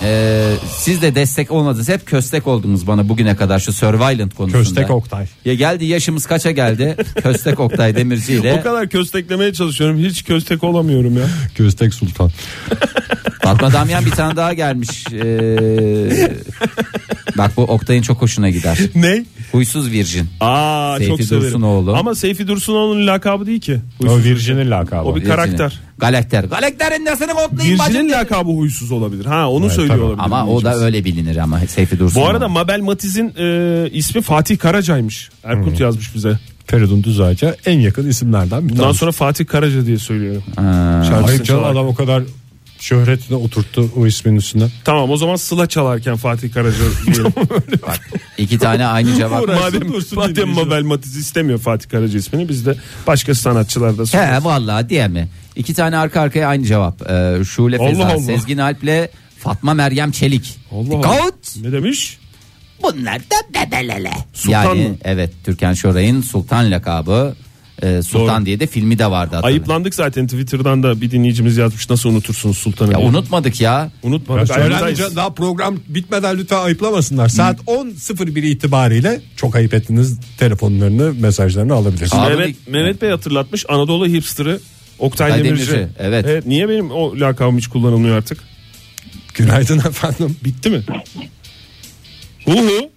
e, siz de destek olmadınız. Hep köstek oldunuz bana bugüne kadar şu Survivant konusunda.
Köstek Oktay.
Ya geldi yaşımız kaça geldi? köstek Oktay Demirci
O
ile
kadar kösteklemeye çalışıyorum. Hiç köstek olamıyorum ya.
Köstek Sultan.
Fatma Damyan bir tane daha gelmiş. Ee, bak bu Oktay'ın çok hoşuna gider.
ne?
Huysuz Virjin.
Aa
Seyfi
çok severim.
Dursunoğlu.
Ama Seyfi Dursunoğlu'nun lakabı değil ki.
O Virgin'in lakabı.
O bir karakter.
Galakter. Galakter'in nesini koklayayım bacım.
Virgin'in lakabı huysuz olabilir. Ha onu
Evet,
söylüyor
tabii.
olabilir.
Ama o da öyle bilinir ama Seyfi Dursun.
Bu arada Mabel Matiz'in e, ismi Fatih Karaca'ymış. Erkut yazmış bize.
Feridun Düzağaç'a en yakın isimlerden bir
Bundan
tanesi.
sonra Fatih Karaca diye söylüyorum. Şarkısını
Hayır canım
çalarken.
adam o kadar şöhretine oturttu o ismin üstüne.
Tamam o zaman Sıla çalarken Fatih Karaca diyelim.
iki tane aynı cevap.
madem madem Mabel Matiz istemiyor Fatih Karaca ismini biz de başka sanatçılarda
He
söylüyoruz.
vallahi diye mi? İki tane arka arkaya aynı cevap. Ee, Şule
Allah
Feza,
Allah.
Sezgin Alp'le Fatma Meryem Çelik.
Allah Allah.
Dikkat!
Ne demiş?
Bunlar da bebelele.
Sultan
yani
mı?
evet Türkan Şoray'ın Sultan lakabı. Ee, Sultan
Doğru.
diye de filmi de vardı. hatırlayın.
Ayıplandık zaten Twitter'dan da bir dinleyicimiz yazmış nasıl unutursunuz Sultan'ı.
Ya
diye.
unutmadık ya.
Unutmadık. Ayrıldayız.
Öğrenci daha program bitmeden lütfen ayıplamasınlar. Saat 10.01 itibariyle çok ayıp ettiniz telefonlarını mesajlarını alabilirsiniz.
Aa,
Mehmet, Mehmet Bey hatırlatmış Anadolu hipster'ı Oktay,
Oktay
Demirci.
Demirci, evet.
Niye benim o lakabım hiç kullanılmıyor artık?
Günaydın efendim.
Bitti mi? Hu hu.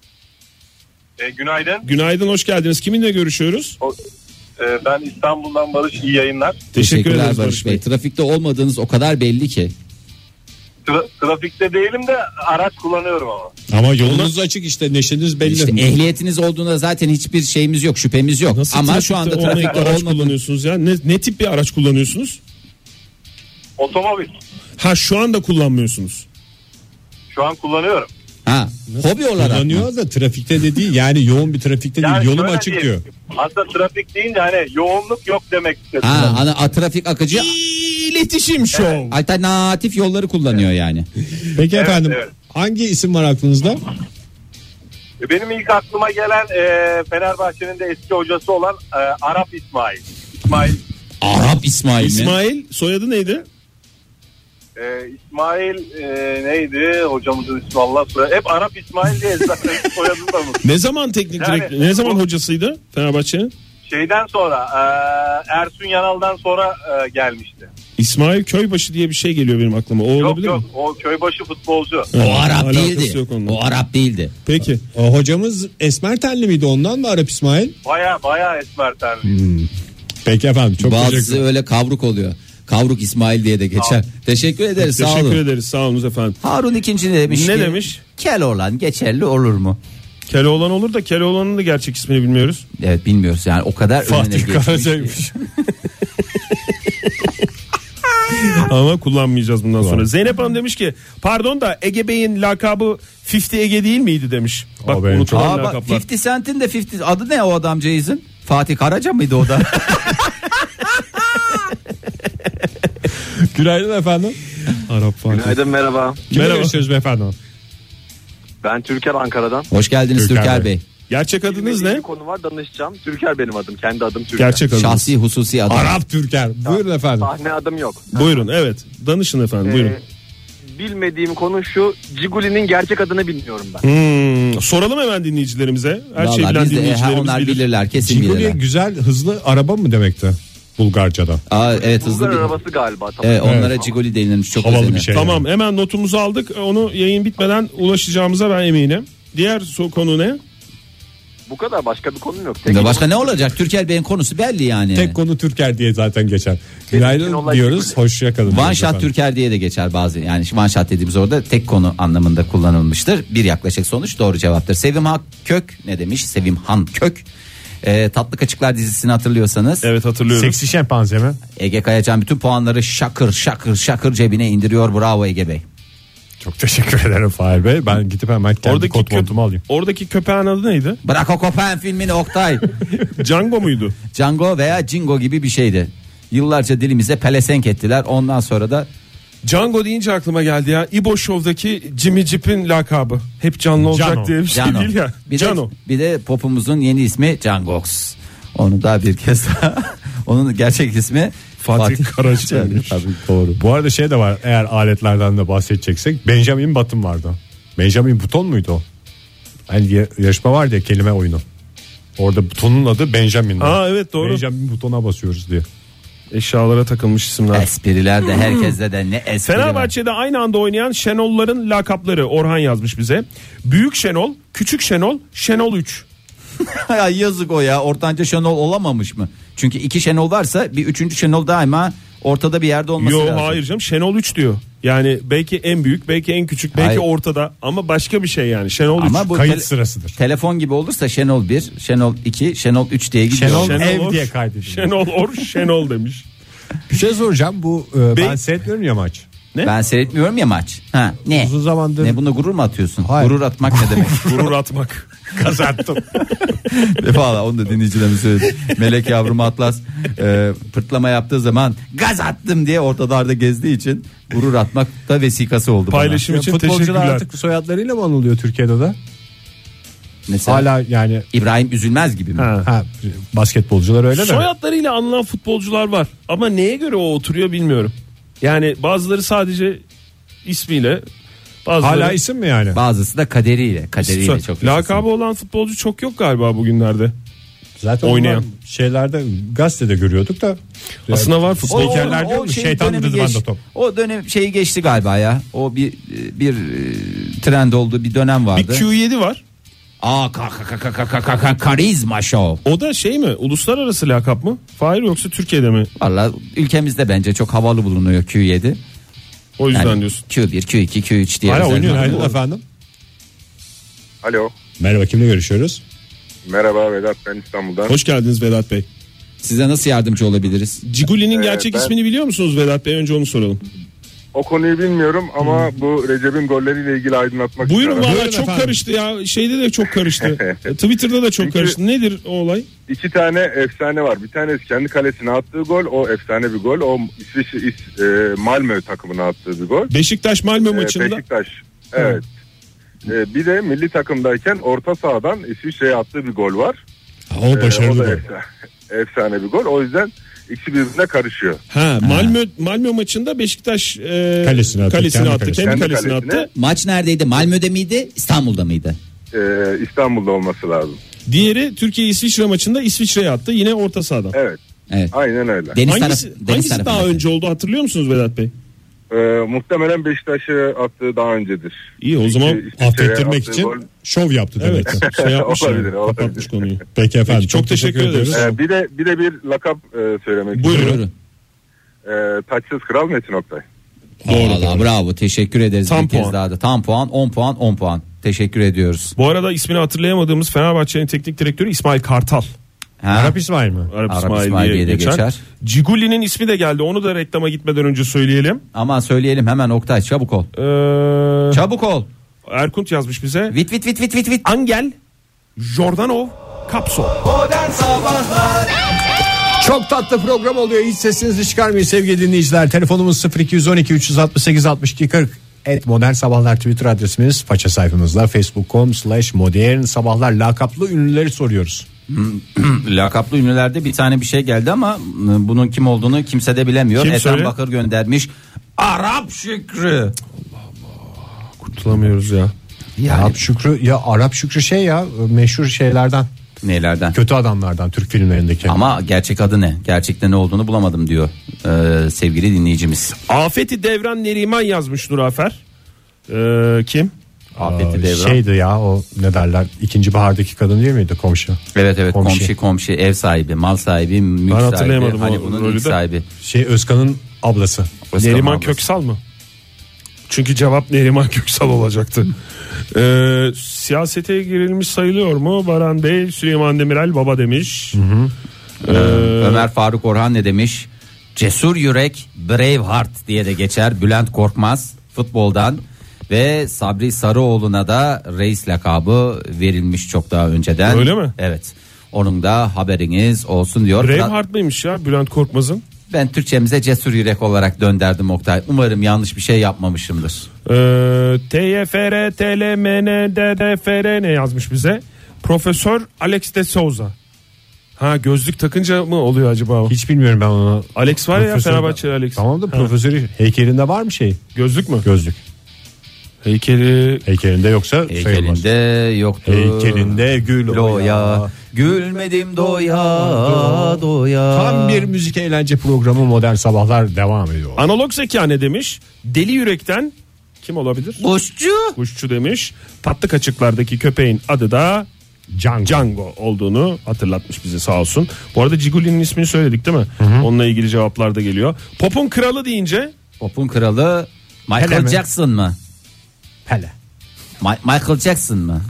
E, günaydın.
Günaydın hoş geldiniz. Kiminle görüşüyoruz?
O- e, ben İstanbul'dan Barış. iyi yayınlar.
Teşekkür ederiz
Barış
Barış
Bey.
Bey.
Trafikte olmadığınız o kadar belli ki.
Tra- trafikte değilim de araç kullanıyorum ama.
Ama yolunuz açık işte neşeniz belli.
İşte ehliyetiniz olduğunda zaten hiçbir şeyimiz yok, şüphemiz yok.
Nasıl
Ama
trafikte
şu anda
olmayan
trafikte
araç
olmadığınız
kullanıyorsunuz ya? Ne, ne tip bir araç kullanıyorsunuz?
Otomobil.
Ha şu anda kullanmıyorsunuz.
Şu an kullanıyorum.
Ha, hobi olarak mı?
Kullanıyor da trafikte de değil yani yoğun bir trafikte değil yolum
şöyle
açık diyor.
diyeyim. Aslında trafik deyince hani yoğunluk yok demek istedim.
Ha, ana a, trafik akıcı
İletişim şov.
alternatif yolları kullanıyor yani.
Peki
Evet,
efendim
evet.
hangi isim var aklınızda?
E, Benim ilk aklıma gelen e, Fenerbahçe'nin de eski hocası olan e, Arap İsmail. İsmail
Arap İsmail mi?
İsmail soyadı neydi?
Ee, İsmail e, neydi hocamızın ismi Allah sonra hep Arap İsmail diye zaten soyadını da unuttum.
Ne zaman teknik
Yani-
direkt ne zaman hocasıydı Fenerbahçe'nin?
Şeyden sonra e, Ersun Yanal'dan sonra e, gelmişti.
İsmail Köybaşı diye bir şey geliyor benim aklıma. O
Yok
olabilir
yok
mi?
o köybaşı futbolcu.
O Arap
Alakası
değildi.
yok onunla.
O Arap değildi.
Peki.
O e, hocamız esmer tenli miydi ondan mı Arap İsmail?
Baya baya esmer tenli.
Peki efendim çok
Bazısı
teşekkür
öyle kavruk oluyor. Kavruk İsmail diye de geçer. Teşekkür ederiz. sağ
Teşekkür
olun.
ederiz. Sağ olunuz efendim.
Harun ikinci demiş
Ne
ki,
demiş?
Keloğlan geçerli olur mu?
Keloğlan olur da Keloğlan'ın da gerçek ismini bilmiyoruz.
Evet bilmiyoruz yani o kadar önüne
Fatih
geçmiş.
Karaca'ymış.
Ama kullanmayacağız bundan sonra. Zeynep Hanım demiş ki pardon da Ege Bey'in lakabı 50 Ege değil miydi demiş. Bak
Aa, benim
unutulan
Aa bak
lakaplar.
50 Cent'in de 50 adı ne o adamcağızın? Fatih Karaca mıydı o da?
Günaydın efendim.
Arap Fatih.
Günaydın merhaba.
Kimle
Merhaba.
görüşüyoruz beyefendi?
Ben Türker Ankara'dan.
Hoş geldiniz
Türker
Türker,
Bey.
Bey.
Gerçek adınız
Bilmediğim
ne?
Bir konu var danışacağım. Türker benim adım. Kendi adım Türker.
Gerçek adınız.
Şahsi hususi adam.
Arap Türker. Buyurun efendim.
Sahne adım yok.
Buyurun evet. Danışın efendim buyurun.
Ee, bilmediğim konu şu. Ciguli'nin gerçek adını bilmiyorum
Ee,
ben.
Hmm, soralım hemen dinleyicilerimize. Her şeyi
Vallahi
bilen
biz de, he,
dinleyicilerimiz
onlar
bilir.
bilirler kesin
Ciguli
bilirler.
güzel hızlı araba mı demekti Bulgarca'da?
Aa, evet hızlı
Bulgar
bir.
arabası galiba. Tamam.
Evet, onlara Ciguli denilmiş çok
Havalı
özenir.
bir şey.
Tamam hemen notumuzu aldık. E, Onu yayın bitmeden ulaşacağımıza ben eminim. Diğer so- konu ne?
Bu kadar başka bir konum yok. Tek
Ya Başka ne olacak? Türker Bey'in konusu belli yani.
Tek konu Türker diye zaten geçer.
için
Günaydın
olay
diyoruz.
Ciguli.
Hoşça kalın.
One
diyoruz
shot
efendim.
Türker diye de geçer bazı yani one shot dediğimiz orada tek konu anlamında kullanılmıştır. Bir yaklaşık sonuç doğru cevaptır. Sevim Han Kök ne demiş? Sevim Han Kök. Ee, Tatlı Kaçıklar dizisini hatırlıyorsanız
Evet hatırlıyorum.
Seksi şempanze mi?
Ege Kayacan bütün puanları şakır şakır şakır cebine indiriyor. Bravo Ege Bey.
Çok teşekkür ederim Fahir Bey. Ben gidip hemen kendi
Oradaki,
kot
kö-
montumu alayım.
oradaki köpeğin adı neydi?
Bırak o kopan filmini Oktay.
Django muydu?
Django veya Jingo gibi bir şeydi. Yıllarca dilimize pelesenk ettiler. Ondan sonra da
Django deyince aklıma geldi ya. İbo Show'daki Jimmy Jeep'in lakabı. Hep canlı olacak
Cano.
diye bir şey
Cano.
değil ya.
Bir
Cano.
de, bir de popumuzun yeni ismi Cangox. Onu daha bir kez daha. Onun gerçek ismi
Fatih
Karaca'ymış. Tabii doğru. Bu arada şey de var eğer aletlerden de bahsedeceksek Benjamin Button vardı. Benjamin Button muydu o? Hani ya- yarışma vardı ya kelime oyunu. Orada butonun adı Benjamin'di.
Aa, evet, doğru.
Benjamin butona basıyoruz diye.
Eşyalara takılmış isimler.
Espriler de herkeste de ne espri var.
Fenerbahçe'de aynı anda oynayan Şenol'ların lakapları Orhan yazmış bize. Büyük Şenol, Küçük Şenol, Şenol 3.
ya yazık o ya. Ortanca Şenol olamamış mı? Çünkü iki Şenol varsa bir üçüncü Şenol daima ortada bir yerde olması
Yo
lazım.
hayır canım Şenol 3 diyor. Yani belki en büyük, belki en küçük, belki
Hayır.
ortada ama başka bir şey yani. Şenol 3.
Ama bu
Kayıt
tele-
sırasıdır.
telefon gibi olursa Şenol 1, Şenol 2, Şenol 3 diye gidiyor.
Şenol-
Şenol
Ev
Or,
diye kaydedilmiş.
Şenol Or, Şenol demiş.
Bir şey soracağım bu e, ben
Bey-
seyretmiyorum ya maç.
Ben seyretmiyorum ya maç. Ha, ne?
Uzun zamandır-
Ne bunu gurur mu atıyorsun?
Hayır.
Gurur atmak ne demek?
Gurur atmak.
Kazandım.
Valla E, onu da dinleyicilerime söyledi. Melek yavrum Atlas e, pırtlama yaptığı zaman gaz attım diye ortalarda gezdiği için gurur atmak da vesikası oldu
Paylaşım için
Futbolcular
teşekkürler.
artık soyadlarıyla mı anılıyor Türkiye'de de?
bana. Mesela
Hala yani
İbrahim Üzülmez gibi mi?
Ha.
ha, basketbolcular öyle de.
Soyadlarıyla anılan futbolcular var. Ama neye göre o oturuyor bilmiyorum. Yani bazıları sadece ismiyle bazıları
Hala isim mi yani?
Bazısı da kaderiyle. Kaderiyle çok
Lakabı olan futbolcu çok yok galiba bugünlerde.
Zaten
Oynayan.
oynayan şeylerde gazetede görüyorduk da.
Aslında var futbol.
O- şey Spikerler diyor mu?
şeyin
Şeytan
dönemi
dedi bende
geç-
top.
O dönem şeyi geçti galiba ya. O bir bir e, trend olduğu bir dönem
Bir
vardı.
Q7 var.
Aa ka- ka- ka- ka- ka- ka- ka- karizma show.
O da şey mi? Uluslararası lakap mı? Fahir yoksa Türkiye'de mi?
Valla ülkemizde bence çok havalı bulunuyor Q7.
O yüzden
Yani
diyorsun.
Q1, Q2, Q3 diye.
Hala
özel-
oynuyor Günaydın efendim.
Alo
Merhaba kimle görüşüyoruz?
merhaba Vedat ben İstanbul'dan.
Hoş geldiniz Vedat Bey.
Size nasıl yardımcı olabiliriz?
Ciguli'nin gerçek
Ee, ben-
ismini biliyor musunuz Vedat Bey? Önce onu soralım.
O konuyu bilmiyorum ama bu Recep'in golleriyle ilgili aydınlatmak
Buyurun valla
Buyurun
çok
efendim.
karıştı ya. Şeyde de çok karıştı. Twitter'da da çok
Çünkü-
karıştı. Nedir o olay?
İki tane efsane var. Bir tanesi kendi kalesine attığı gol. O efsane bir gol. O İsviçre İs, e, Malmö takımına attığı bir gol.
Beşiktaş Malmö
E,
maçında.
Beşiktaş. Evet. E, bir de milli takımdayken orta sahadan İsviçre'ye attığı bir gol var.
Ha, o
E,
başarılı
o da
gol.
efsane. efsane bir gol. O yüzden ikisi birbirine karışıyor.
Ha, Malmö Malmö maçında Beşiktaş e,
Kalesine attı,
kalesine
kendi
attı, kendi,
kalesine.
Kendi
kalesine
kalesine.
attı.
Maç neredeydi? Malmö'de miydi? İstanbul'da mıydı?
Ee, İstanbul'da olması lazım.
Diğeri Türkiye İsviçre maçında İsviçre'ye attı yine orta sahada.
Evet.
Evet.
Aynen öyle.
Deniz
Hangisi,
taraf, deniz
hangisi daha
tarafındaki.
önce oldu hatırlıyor musunuz Vedat Bey?
Ee, muhtemelen Beşiktaş'a attığı daha öncedir.
İyi o zaman
İki- İsviçre'ye
Affettirmek
attığı
için
gol.
şov yaptı demek
evet
ki.
şey yapmış yani,
Olabilir, olabilir.
kapatmış konuyu.
Peki efendim.
Peki, çok teşekkür ederiz.
Ee, bir de bir de bir lakap e, söylemek
Buyurun.
istiyorum.
Buyurun.
Ee, taçsız kral Metin Oktay.
Doğru.
Vallahi bravo teşekkür ederiz
Tam
bir kez
puan.
daha da. Tam puan 10 puan 10 puan. Teşekkür ediyoruz.
Bu arada ismini hatırlayamadığımız Fenerbahçe'nin teknik direktörü İsmail Kartal.
Ha?
Arap İsmail mi?
Arap,
Arap
İsmail,
İsmail
diye
diye de
geçer.
geçer.
Ciguli'nin ismi de geldi. Onu da reklama gitmeden önce söyleyelim.
Aman söyleyelim hemen Oktay çabuk ol.
Ee,
Çabuk ol.
Erkunt yazmış bize.
Vit vit vit vit vit vit.
Angel Jordanov Kapso.
Çok tatlı program oluyor. Hiç sesinizi çıkarmayın sevgili dinleyiciler. Telefonumuz 0212 368 62 40. Et Modern Sabahlar Twitter adresimiz faça sayfamızda facebook.com slash modern sabahlar lakaplı ünlüleri soruyoruz.
Lakaplı ünlülerde bir tane bir şey geldi ama e, bunun kim olduğunu kimse de bilemiyor.
Kim
Ethem
söyle?
Bakır göndermiş. Arap Şükrü.
Kurtulamıyoruz ya.
Yani
Arap Şükrü ya Arap Şükrü şey ya meşhur şeylerden
nelerden?
kötü adamlardan Türk filmlerindeki.
Ama gerçek adı ne? Gerçekte ne olduğunu bulamadım diyor e, sevgili dinleyicimiz.
Afeti Devran Neriman yazmış Nurafer. Ee, kim?
Afeti
Aa,
Devran.
şey
Şeydi ya o ne derler ikinci bahardaki kadın değil miydi komşu?
Evet evet
Komşu.
komşu. komşu ev sahibi mal sahibi mülk
Ben
sahibi
hatırlayamadım
hani
o
bunun
rolü
ilk
de.
sahibi.
Şey Özkan'ın ablası.
Özkan
Neriman
ablası.
Köksal mı? Çünkü cevap Neriman Köksal olacaktı. Ee, siyasete girilmiş sayılıyor mu? Baran Bey, Süleyman Demirel baba demiş. Ee,
Ömer Faruk Orhan ne demiş? Cesur yürek Braveheart diye de geçer Bülent Korkmaz futboldan ve Sabri Sarıoğlu'na da reis lakabı verilmiş çok daha önceden.
Öyle mi?
Evet. Onun da haberiniz olsun diyor.
Braveheart mıymış ya Bülent Korkmaz'ın?
Ben Türkçemize cesur yürek olarak dönderdim Oktay. Umarım yanlış bir şey yapmamışımdır.
Ee, TYFR TLMN DDFR ne yazmış bize? Profesör Alex de Souza. Ha gözlük takınca mı oluyor acaba? o?
Hiç bilmiyorum ben onu.
Alex var ya
Profesör-
Fenerbahçeli Alex.
Tamam da
Ha.
profesörü heykelinde var mı şey?
Gözlük mü?
Gözlük.
Heykeli
Heykelinde yoksa sayılmaz.
Heykelinde yoktu.
Şey Heykelinde gül
Loya
oya.
gülmedim doya doya.
Tam bir müzik eğlence programı Modern Sabahlar devam ediyor.
Analog zeka ne demiş? Deli yürekten kim olabilir?
Boşçu.
Kuşçu demiş. Tatlı kaçıklardaki köpeğin adı da
Can
Django olduğunu hatırlatmış bize sağ olsun. Bu arada Ciguli'nin ismini söyledik değil mi? Onunla ilgili cevaplar da geliyor. Pop'un kralı deyince
Pop'un kralı Michael
Hele mi?
Jackson mı?
Hele.
Ma- Michael Jackson mı?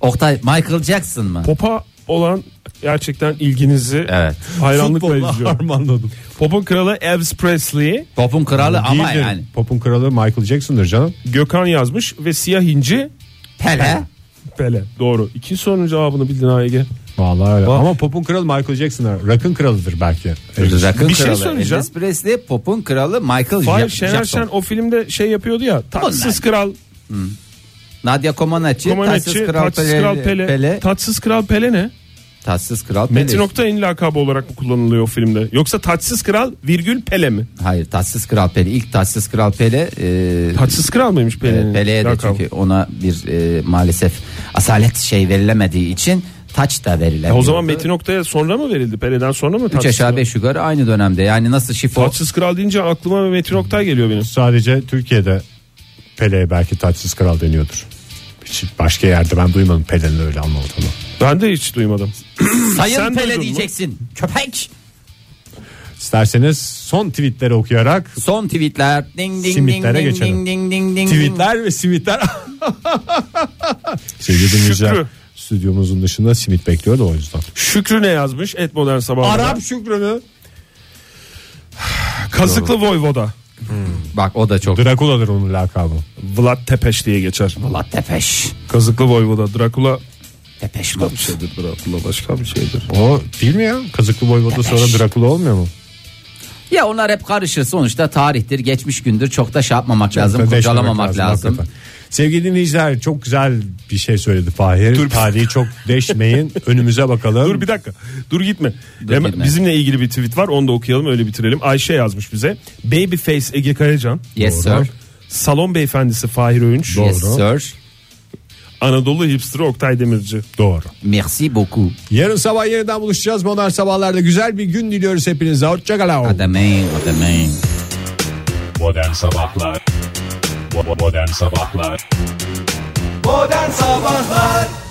Oktay Michael Jackson mı?
Pop'a olan gerçekten ilginizi
Evet.
hayranlıkla izliyorum.
harmanladım.
Pop'un kralı Elvis Presley,
Pop'un kralı ama
Değildir.
yani.
Pop'un kralı Michael Jackson'dır canım.
Gökhan yazmış ve Siyah İnci
Pele.
Pele. Doğru. İkinci sorunun cevabını bildin ha Ege.
Vallahi öyle.
Bak.
Ama Pop'un kralı Michael Jackson'dır. Rock'ın kralıdır belki. Evet.
Rock'ın
Bir şey
kralı
söyleyeceğim.
Elvis Presley, Pop'un kralı Michael
Fahir
Ja-
Şener Şen
Jackson.
o filmde şey yapıyordu ya. Tatsız Kral
Nadia Comaneci,
Komaneci,
Tatsız Kral
Tatsız
Pele.
Kral Pele.
Pele.
Tatsız Kral Pele ne?
Tatsız Kral Pele.
Metin Oktay'ın lakabı olarak mı kullanılıyor o filmde? Yoksa Tatsız Kral virgül Pele mi?
Hayır Tatsız Kral Pele. İlk Tatsız Kral Pele. E,
Tatsız Kral mıymış Pele'nin
e, Pele'ye de
lakabı?
çünkü ona bir e, maalesef asalet şey verilemediği için taç da
E,
verilemiyordu.
o zaman Metin Oktay'a sonra mı verildi? Pele'den sonra mı?
3
Tatsız
aşağı
Kral?
5 yukarı aynı dönemde. Yani nasıl şifo?
Tatsız Kral deyince aklıma Metin Oktay geliyor benim.
Sadece Türkiye'de Pele'ye belki taçsız kral deniyordur. Hiç başka yerde ben duymadım Pele'nin öyle anlatıldığını.
Ben de hiç duymadım.
Sayın
Sen duydun
Pele
mu?
diyeceksin. Köpek.
İsterseniz son tweetleri okuyarak
Son tweetler. Ding ding
Simitlere
ding,
geçelim.
ding ding ding ding.
tweetler ve simitler. Sevgili dinleyiciler
Şükrü.
stüdyomuzun dışında simit bekliyordu o yüzden.
Şükrü ne yazmış? Et Modern Sabahlar.
Arap Şükrü'nü
Kazıklı Voyvoda.
Bak o da çok.
Drakula'dır onun lakabı.
Vlad Tepeş diye geçer.
Ulan tepeş.
Kazıklı Voyvoda. Drakula
Tepeş mi?
şey
şeydir Drakula başka bir şeydir.
O değil mi ya? Kazıklı Boyvoda sonra Drakula olmuyor mu?
Ya onlar hep karışır. Sonuçta tarihtir, geçmiş gündür. Çok da şey yapmamak lazım,
Deşmemek
kurcalamamak lazım.
hakikaten. Sevgili dinleyiciler çok güzel bir şey söyledi Fahir.
Dur bir-
Tarihi çok deşmeyin. Önümüze bakalım.
Dur bir dakika. Dur gitme.
Dur
Hemen
gitme.
Bizimle ilgili bir tweet var. Onu da okuyalım öyle bitirelim. Ayşe yazmış bize. Babyface Ege Kayacan.
Yes
Doğru.
sir.
Salon beyefendisi Fahir Öğünç.
Yes sir.
Anadolu hipsteri Oktay Demirci.
Doğru.
Merci beaucoup.
Yarın sabah yeniden buluşacağız. Modern sabahlarda güzel bir gün diliyoruz hepinize. Hoşçakalın.
Adamın adamın.
Modern sabahlar. Modern sabahlar.
Modern Sabahlar